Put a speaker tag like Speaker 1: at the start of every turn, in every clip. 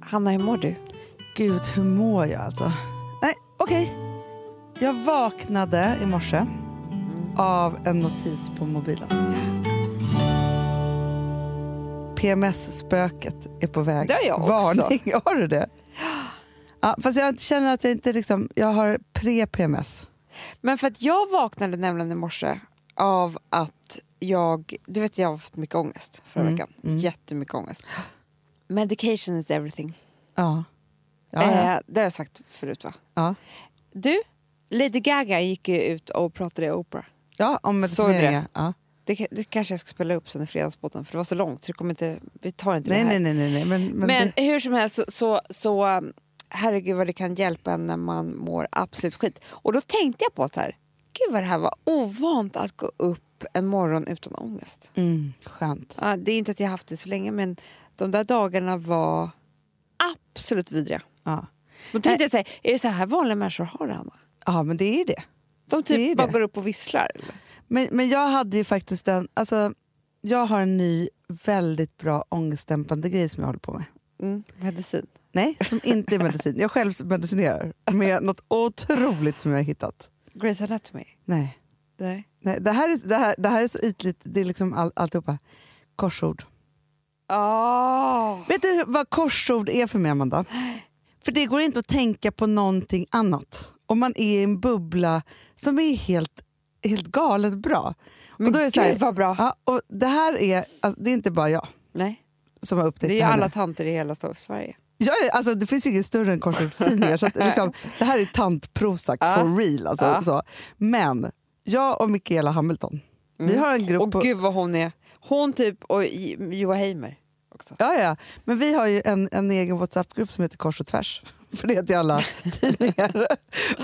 Speaker 1: Hanna, hur mår du?
Speaker 2: Gud, hur mår jag alltså? Nej, okej. Jag vaknade i morse av en notis på mobilen. PMS-spöket är på väg.
Speaker 1: Det har jag också.
Speaker 2: Varning, har du det? Ja, fast jag känner att jag inte liksom, jag har pre-PMS.
Speaker 1: Men för att jag vaknade nämligen i morse av att jag... Du vet, jag har haft mycket ångest förra
Speaker 2: Mm,
Speaker 1: veckan.
Speaker 2: mm.
Speaker 1: Jättemycket ångest. Medication is everything.
Speaker 2: Ja. Ja, ja.
Speaker 1: Eh, det har jag sagt förut, va?
Speaker 2: ja.
Speaker 1: Du, Lady Gaga gick ju ut och pratade i Oprah.
Speaker 2: ja om
Speaker 1: såg du det?
Speaker 2: medicineringen. Ja.
Speaker 1: Det, ka- det kanske jag ska spela upp sen i Fredagspodden, för det var så långt så det kommer inte, vi tar inte
Speaker 2: Nej,
Speaker 1: det här.
Speaker 2: nej, nej, nej, nej. Men, men,
Speaker 1: Men,
Speaker 2: det,
Speaker 1: hur som helst, så, så, så um, herregud vad det kan hjälpa en när man mår absolut skit. Och då tänkte jag på så här, gud vad det här var ovant att gå upp en morgon utan ångest.
Speaker 2: mm, skönt.
Speaker 1: Ja, det är inte att jag har haft det så länge, men de där dagarna var absolut vidriga.
Speaker 2: Ja.
Speaker 1: Då tänkte jag så här, är det så här vanliga människor har det, Anna?
Speaker 2: ja, men det är ju det.
Speaker 1: De
Speaker 2: Det är
Speaker 1: typ
Speaker 2: det.
Speaker 1: bara går upp och visslar. eller?
Speaker 2: Men, men jag hade ju faktiskt en, alltså, jag har en ny väldigt bra ångestdämpande grej som jag håller på med.
Speaker 1: Mm, medicin.
Speaker 2: Nej, som inte är medicin. Jag själv medicinerar med något otroligt som jag har hittat.
Speaker 1: Grey's Anatomy.
Speaker 2: Nej,
Speaker 1: Nej.
Speaker 2: nej det, här är, det, här, det här är så ytligt. Det är liksom all, alltihopa. Korsord.
Speaker 1: Oh.
Speaker 2: Vet du vad korsord är för mig, Amanda? För det går inte att tänka på någonting annat. Om man är i en bubbla som är helt, helt galet bra.
Speaker 1: Men
Speaker 2: och då är det så här,
Speaker 1: gud vad bra.
Speaker 2: Ja, och det här är, alltså, det är inte bara jag
Speaker 1: Nej,
Speaker 2: som har upptäckt
Speaker 1: det är ju
Speaker 2: här
Speaker 1: alla
Speaker 2: nu.
Speaker 1: tanter i hela Sverige.
Speaker 2: Ja, ja, alltså, det finns ju inget större än korsordstidningar. så att, liksom, det här är tantprosak
Speaker 1: Ja.
Speaker 2: for real. Alltså,
Speaker 1: Ja.
Speaker 2: så. Men jag och Michaela Hamilton, vi har en grupp...
Speaker 1: Mm. Och
Speaker 2: på,
Speaker 1: gud vad hon är. Hon typ och J- Joa Heimer också.
Speaker 2: ja, ja, men vi har ju en, en egen Whatsapp-grupp som heter Kors och tvärs. För det är till alla tidningar.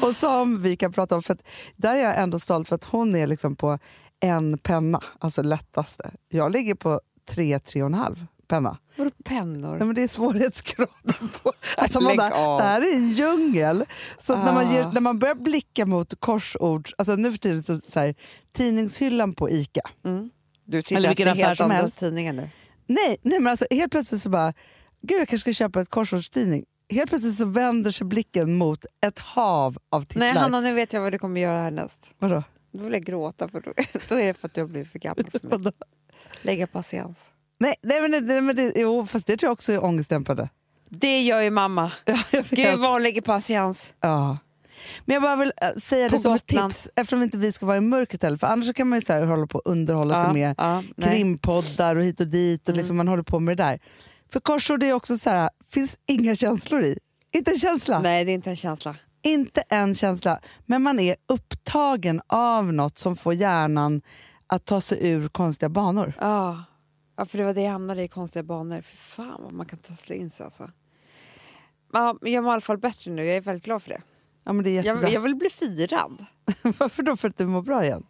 Speaker 2: och som vi kan prata om. För att, där är jag ändå stolt för att hon är liksom på en penna, alltså lättaste. Jag ligger på tre, tre och en halv penna.
Speaker 1: Vadå
Speaker 2: Nej,
Speaker 1: pennor?
Speaker 2: men det är svårighetsgraden. På. Alltså,
Speaker 1: Lägg
Speaker 2: man bara,
Speaker 1: av.
Speaker 2: det här är en djungel. Så att när, man ger,
Speaker 1: Ah.
Speaker 2: när man börjar blicka mot korsord, alltså nu för tiden så, så här, tidningshyllan på ICA.
Speaker 1: Mm. Du tittar
Speaker 2: Eller
Speaker 1: Eller
Speaker 2: vilken
Speaker 1: vilken
Speaker 2: affär
Speaker 1: helt
Speaker 2: som
Speaker 1: andra
Speaker 2: helst.
Speaker 1: tidningar nu.
Speaker 2: Nej, nej men alltså helt plötsligt så bara, gud jag kanske ska köpa ett korsordstidning. Helt plötsligt så vänder sig blicken mot ett hav av titlar.
Speaker 1: Nej Hanna, nu vet jag vad du kommer göra härnäst.
Speaker 2: Vadå?
Speaker 1: Då vill jag gråta för då, då är det för att du har blivit för gammal för mig.
Speaker 2: Vadå?
Speaker 1: Lägga patiens.
Speaker 2: Nej, nej, men, det- nej men det, jo, fast det tror jag också är ångestdämpande.
Speaker 1: Det gör ju mamma.
Speaker 2: Ja, jag vet.
Speaker 1: Gud vad hon lägger patiens.
Speaker 2: Ja. Men jag bara vill eh, säga
Speaker 1: På
Speaker 2: det som ett
Speaker 1: Gotland.
Speaker 2: tips, eftersom inte vi ska vara i mörkret heller. För annars så kan man ju så här hålla på och underhålla sig med
Speaker 1: ja, nej. Mm.
Speaker 2: krimpoddar och hit och dit och liksom man håller på med det där. För korsord är också så här, finns inga känslor i. Inte en känsla.
Speaker 1: nej, det är inte en känsla.
Speaker 2: Inte en känsla. Men man är upptagen av något som får hjärnan att ta sig ur konstiga banor.
Speaker 1: Ja. ja, för det var det jag hamnade i, konstiga banor. Fy fan vad man kan tassla in sig alltså. Ja, men jag mår i alla fall bättre nu, jag är väldigt glad för det.
Speaker 2: Ja, men det är jättebra.
Speaker 1: Jag, jag vill bli firad.
Speaker 2: Varför då? För att du mår bra igen?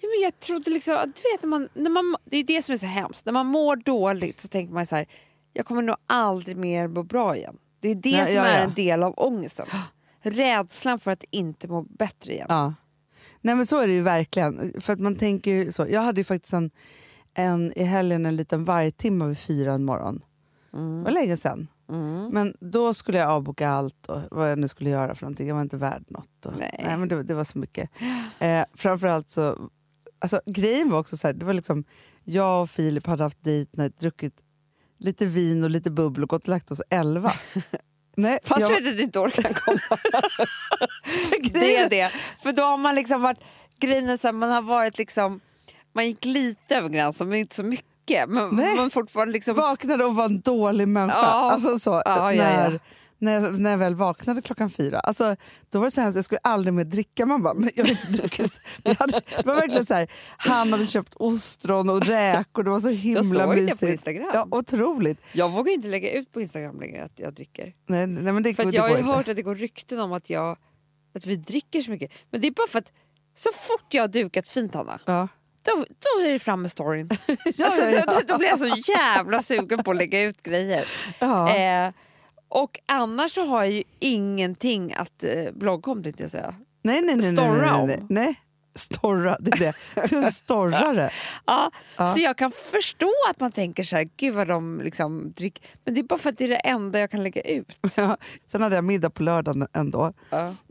Speaker 1: Ja, men jag trodde liksom, du vet, när man, när man, det är det som är så hemskt. När man mår dåligt så tänker man så här, jag kommer nog aldrig mer må bra igen. Det är det
Speaker 2: Nej,
Speaker 1: som
Speaker 2: ja,
Speaker 1: är
Speaker 2: ja.
Speaker 1: en del av ångesten. Rädslan för att inte må bättre igen.
Speaker 2: Ja. Nej men så är det ju verkligen. För att man tänker ju så. Jag hade ju faktiskt en, en i helgen en liten vargtimme vid fyra en morgon. Det var länge sedan.
Speaker 1: Mm.
Speaker 2: Men då skulle jag avboka allt och vad jag nu skulle göra för någonting. Jag var inte värd något. Och,
Speaker 1: Nej.
Speaker 2: men det, det var så mycket. Eh, framförallt så, alltså grejen var också så här, det var liksom, jag och Filip hade haft dejt, när- druckit lite vin och lite bubbel och gått och lagt oss elva. Nej,
Speaker 1: Fast
Speaker 2: jag,
Speaker 1: jag vet att ditt år kan komma. det
Speaker 2: Grejen-
Speaker 1: är det. För då har man liksom varit, grejen är så här, man har varit liksom, man gick lite över gränsen men inte så mycket. Men
Speaker 2: Nej.
Speaker 1: man fortfarande liksom,
Speaker 2: vaknade och var en dålig människa.
Speaker 1: Ja.
Speaker 2: Alltså så,
Speaker 1: Ja, ja, ja.
Speaker 2: när, När, jag, när jag väl vaknade klockan fyra, alltså, då var det så hemskt, jag skulle aldrig mer dricka. Man bara, men jag har inte druckit. Vi hade, det var verkligen så här, han hade köpt ostron och räkor, det var så
Speaker 1: jag
Speaker 2: himla
Speaker 1: såg det
Speaker 2: mysigt.
Speaker 1: på Instagram.
Speaker 2: Ja, otroligt.
Speaker 1: Jag vågar ju inte lägga ut på Instagram längre att jag dricker.
Speaker 2: Nej, nej, men det,
Speaker 1: För
Speaker 2: går-
Speaker 1: att
Speaker 2: det
Speaker 1: jag har
Speaker 2: går
Speaker 1: ju
Speaker 2: inte.
Speaker 1: hört att det går rykten om att, jag, att vi dricker så mycket. Men det är bara för att så fort jag har dukat fint, Hanna,
Speaker 2: Ja.
Speaker 1: då, då är det fram med storyn. alltså,
Speaker 2: ja, ja.
Speaker 1: Då, då blir jag så jävla sugen på att lägga ut grejer.
Speaker 2: Ja.
Speaker 1: Eh, och annars så har jag ju ingenting att eh, blogga om, tänkte jag säga.
Speaker 2: nej, nej, nej, nej,
Speaker 1: storra
Speaker 2: nej,
Speaker 1: om.
Speaker 2: nej, nej. Storra, det är det. Du är en storrare.
Speaker 1: Ja,
Speaker 2: Ja.
Speaker 1: Så jag kan förstå att man tänker så här, gud vad de liksom dricker. Men det är bara för att det är det enda jag kan lägga ut.
Speaker 2: Ja. Sen hade jag middag på lördagen ändå.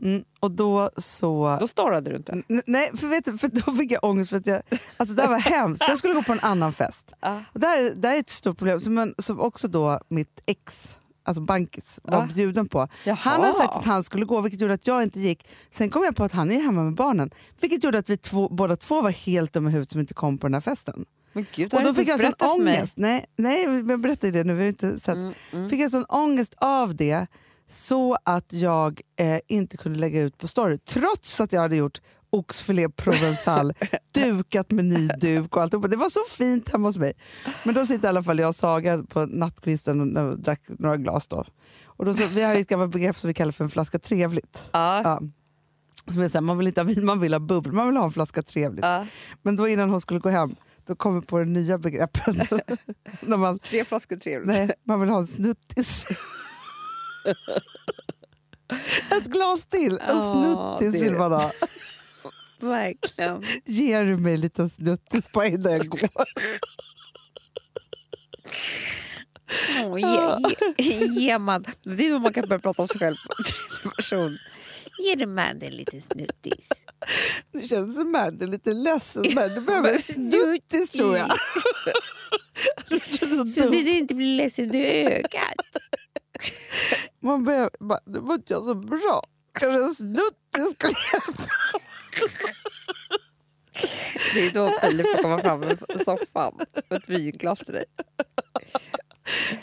Speaker 2: Mm, och då så...
Speaker 1: Då storrade du inte.
Speaker 2: N- Nej, för, vet du, för då fick jag ångest. För att jag, alltså det här var hemskt. Jag skulle gå på en annan fest.
Speaker 1: Ja.
Speaker 2: Och det, här, är- det här är ett stort problem som, men, som också då mitt ex, alltså Bankis, var
Speaker 1: Va?
Speaker 2: bjuden på.
Speaker 1: Jaha.
Speaker 2: Han hade sagt att han skulle gå vilket gjorde att jag inte gick. Sen kom jag på att han är hemma med barnen. Vilket gjorde att vi två, båda två var helt dumma i huvudet som inte kom på den här festen.
Speaker 1: Men gud,
Speaker 2: Och då fick jag sån ångest. Nej, nej, jag berättade det nu. Vi har ju inte sett. Fick jag sån ångest av det så att jag eh, inte kunde lägga ut på story. Trots att jag hade gjort oxfilé provençal, dukat med ny duk och alltihopa. Det var så fint hemma hos mig. Men då sitter i alla fall jag och Saga på nattkvisten och när vi drack några glas. Då. Och då så, vi har ju ett gammalt begrepp som vi kallar för en flaska trevligt.
Speaker 1: Ja.
Speaker 2: Ja. Som är så här, man vill inte ha vin, man vill ha bubbel, man vill ha en flaska trevligt.
Speaker 1: Ja.
Speaker 2: Men då innan hon skulle gå hem, då kom vi på det nya begreppet. När man,
Speaker 1: Tre flaskor trevligt.
Speaker 2: nej, man vill ha en snuttis. Ett glas till, en
Speaker 1: Ja,
Speaker 2: snuttis
Speaker 1: det-
Speaker 2: vill man ha.
Speaker 1: Verkligen.
Speaker 2: Ger du mig en liten snuttis på innan jag går?
Speaker 1: Oh, ge, ge, ge man. Det är då man kan börja prata om sig själv på tredje person. Ge det man en liten snuttis.
Speaker 2: Nu känns som att du är lite ledsen, men du behöver en snuttis tror jag. Det känns så
Speaker 1: Så det
Speaker 2: dumt.
Speaker 1: det inte blir ledsen i ögat.
Speaker 2: Man behöver, bara, nu mår inte jag så bra. Kanske en snuttis skulle
Speaker 1: Det är då Filip får komma fram ur soffan med ett vinglas till dig.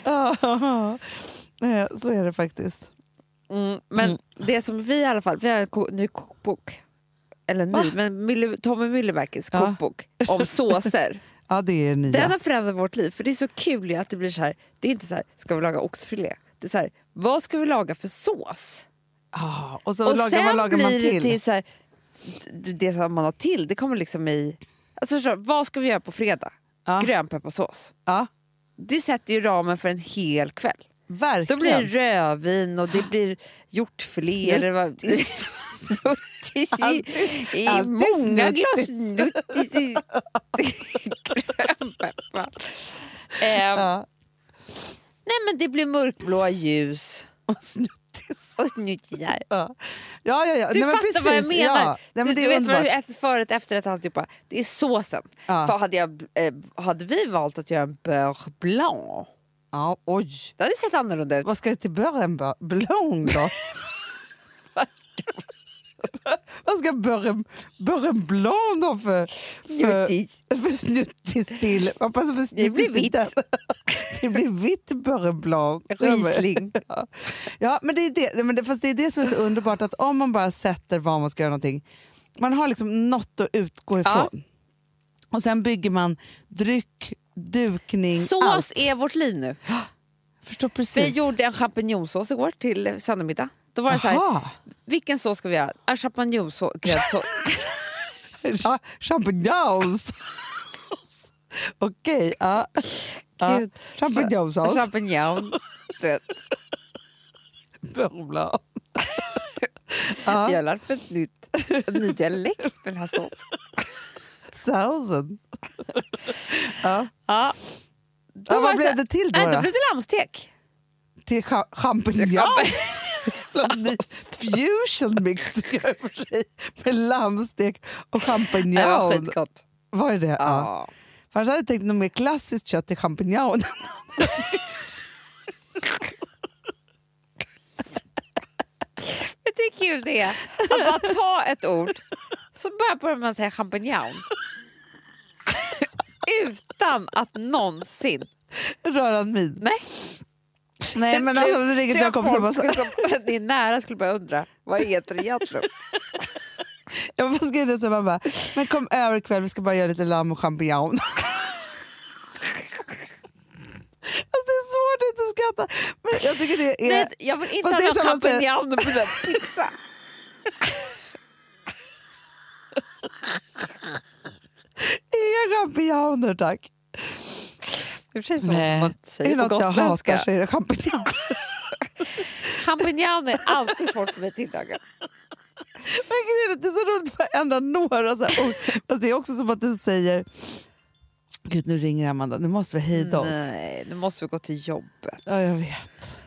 Speaker 2: Ja, Eh, så är det faktiskt.
Speaker 1: Mm, men det som vi i alla fall, vi har en ko- ny kokbok. Eller ny, men Mille, Tommy Myllymäkis
Speaker 2: Ja.
Speaker 1: kokbok om såser.
Speaker 2: Ja, det är nya.
Speaker 1: Den har förändrat vårt liv. För det är så kul ju att det blir så här, det är inte så här, ska vi laga oxfilé? Det är så här, vad ska vi laga för sås?
Speaker 2: Ja, Ah, och så
Speaker 1: Och
Speaker 2: lagar,
Speaker 1: sen
Speaker 2: vad lagar man
Speaker 1: blir det
Speaker 2: till.
Speaker 1: till så här, d- det som man har till, det kommer liksom i, alltså förstår du, vad ska vi göra på fredag?
Speaker 2: Ja.
Speaker 1: Grönpepparsås.
Speaker 2: Ja,
Speaker 1: Det sätter ju ramen för en hel kväll. Då
Speaker 2: verkligen.
Speaker 1: blir det rödvin och det blir hjortfilé. eller vad- Snuttis i, i
Speaker 2: Alltid
Speaker 1: många
Speaker 2: snuttis.
Speaker 1: glas snuttis i grönpeppar. Ehm,
Speaker 2: ja.
Speaker 1: Nej men det blir mörkblåa ljus
Speaker 2: Och snuttis.
Speaker 1: och snuttisar.
Speaker 2: Ja, ja, ja. ja.
Speaker 1: Du
Speaker 2: Nej, men
Speaker 1: fattar
Speaker 2: precis.
Speaker 1: vad jag menar.
Speaker 2: Ja. Nej, men
Speaker 1: du,
Speaker 2: det
Speaker 1: du
Speaker 2: är
Speaker 1: vet vad
Speaker 2: underbart.
Speaker 1: du äter förrätt, efterrätt, alltihopa. typ Det är såsen.
Speaker 2: Ja.
Speaker 1: För hade, jag, eh, hade vi valt att göra en beurre blanc,
Speaker 2: Ja, oj.
Speaker 1: det hade sett annorlunda ut.
Speaker 2: Vad ska det till början bör- Blong då? Vad ska början början blond ha för, för,
Speaker 1: Snuttis.
Speaker 2: för snuttis till? Vad passar för
Speaker 1: Det blir
Speaker 2: snuttis till
Speaker 1: vitt.
Speaker 2: den? Det blir vitt början blond.
Speaker 1: Riesling.
Speaker 2: Ja. ja, men det är det. Nej, Men det, fast det är det som är så underbart att om man bara sätter vad man ska göra någonting. Man har liksom något att utgå ifrån. Och sen bygger man dryck, dukning, allt.
Speaker 1: Sås är vårt liv nu.
Speaker 2: Förstår precis.
Speaker 1: Vi gjorde en champinjonsås igår till eh, söndagsmiddag. Då var det så här,
Speaker 2: Aha.
Speaker 1: vilken sås ska vi göra? Ah, Champinjonsås, gräddsås.
Speaker 2: Ja, champignons. Okej, ja. ja.
Speaker 1: Gud.
Speaker 2: Champignonsås.
Speaker 1: Champinjon. Du vet,
Speaker 2: Börblad.
Speaker 1: jag
Speaker 2: Ja,
Speaker 1: har lärt mig ett nytt, en ny dialekt med den här såsen.
Speaker 2: sausen. Ja.
Speaker 1: Ja. Då var
Speaker 2: Ja, vad
Speaker 1: så här-
Speaker 2: blev det till då?
Speaker 1: Nej,
Speaker 2: då?
Speaker 1: då blev det lammstek.
Speaker 2: Till cha- champinjons? Jävla ny Fusion mix tycker jag i och för sig. Med lammstek och
Speaker 1: Ja, det var
Speaker 2: champinjon.
Speaker 1: skitgott.
Speaker 2: Var det det? Ja.
Speaker 1: Ja.
Speaker 2: För jag hade tänkt något mer klassiskt kött till champinjon.
Speaker 1: Vet du hur kul det är? Att bara ta ett ord, så bara börjar man säga champinjon. Utan att någonsin...
Speaker 2: Röran min.
Speaker 1: Nej.
Speaker 2: Nej men alltså, det ringer till
Speaker 1: Tror
Speaker 2: jag
Speaker 1: jag
Speaker 2: kompisar och bara,
Speaker 1: folk skulle- som- Ni är nära skulle börja undra, vad heter det egentligen?
Speaker 2: Jag bara skrev det så man bara, men kom över ikväll, vi ska bara göra lite lamm och champinjon. alltså Alltså, det är svårt att inte skratta. Men jag tycker det är...
Speaker 1: Nej, jag vill inte
Speaker 2: Fast
Speaker 1: ha
Speaker 2: det
Speaker 1: någon
Speaker 2: är som att säga-
Speaker 1: champinjon på den pizza.
Speaker 2: Inga champinjoner tack.
Speaker 1: Det är för sig så som man
Speaker 2: är det
Speaker 1: säger på
Speaker 2: något jag hatar
Speaker 1: gotländska.
Speaker 2: så är det champinjoner.
Speaker 1: Champinjon är alltid svårt för mig att tillaga.
Speaker 2: men Grejen är att Det är så roligt att ändra några så här ord. Fast det är också som att du säger... Gud, nu ringer Amanda. Nu måste vi hejda oss.
Speaker 1: Nej, nu måste vi gå till jobbet.
Speaker 2: Ja, jag vet.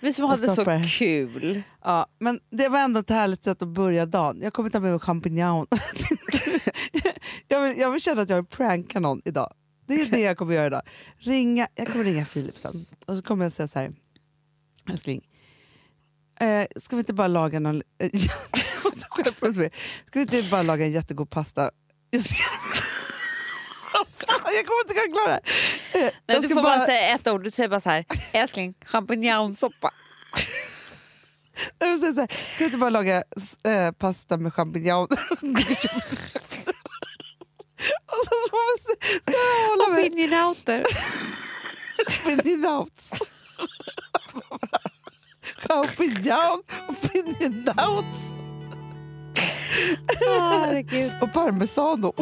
Speaker 1: Vi som
Speaker 2: Jag
Speaker 1: hade så
Speaker 2: stoppar.
Speaker 1: kul.
Speaker 2: Ja, men det var ändå ett härligt sätt att börja dagen. Jag kommer ta med mig champinjon. jag, vill, jag vill känna att jag vill pranka någon idag. Det är det jag kommer göra idag. Ringa, jag kommer ringa Filip sen och så kommer jag säga så här. Älskling, eh, ska vi inte bara laga någon... eh, jag måste skärpa mig så mycket. Ska vi inte bara laga en jättegod pasta? Jag ska- Fan, jag kommer inte kunna klara det. här. Eh,
Speaker 1: Nej,
Speaker 2: jag
Speaker 1: du
Speaker 2: ska
Speaker 1: får bara... säga ett ord. Du säger bara så här, älskling, champinjonsoppa.
Speaker 2: Jag vill säga så här, ska vi inte bara laga s- eh, pasta med champinjoner? och så får vi se. Ska jag hålla mig?
Speaker 1: Opinionouter.
Speaker 2: Opinionouts. Champinjon, opinionouts
Speaker 1: Herregud.
Speaker 2: och parmesano.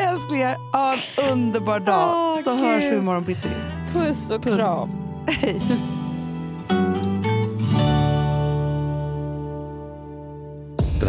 Speaker 2: Älsklingar, ha en underbar dag
Speaker 1: Åh,
Speaker 2: så hörs vi
Speaker 1: Gud.
Speaker 2: imorgon bitti.
Speaker 1: Puss och
Speaker 2: Puss.
Speaker 1: kram.
Speaker 2: Hej.
Speaker 3: Den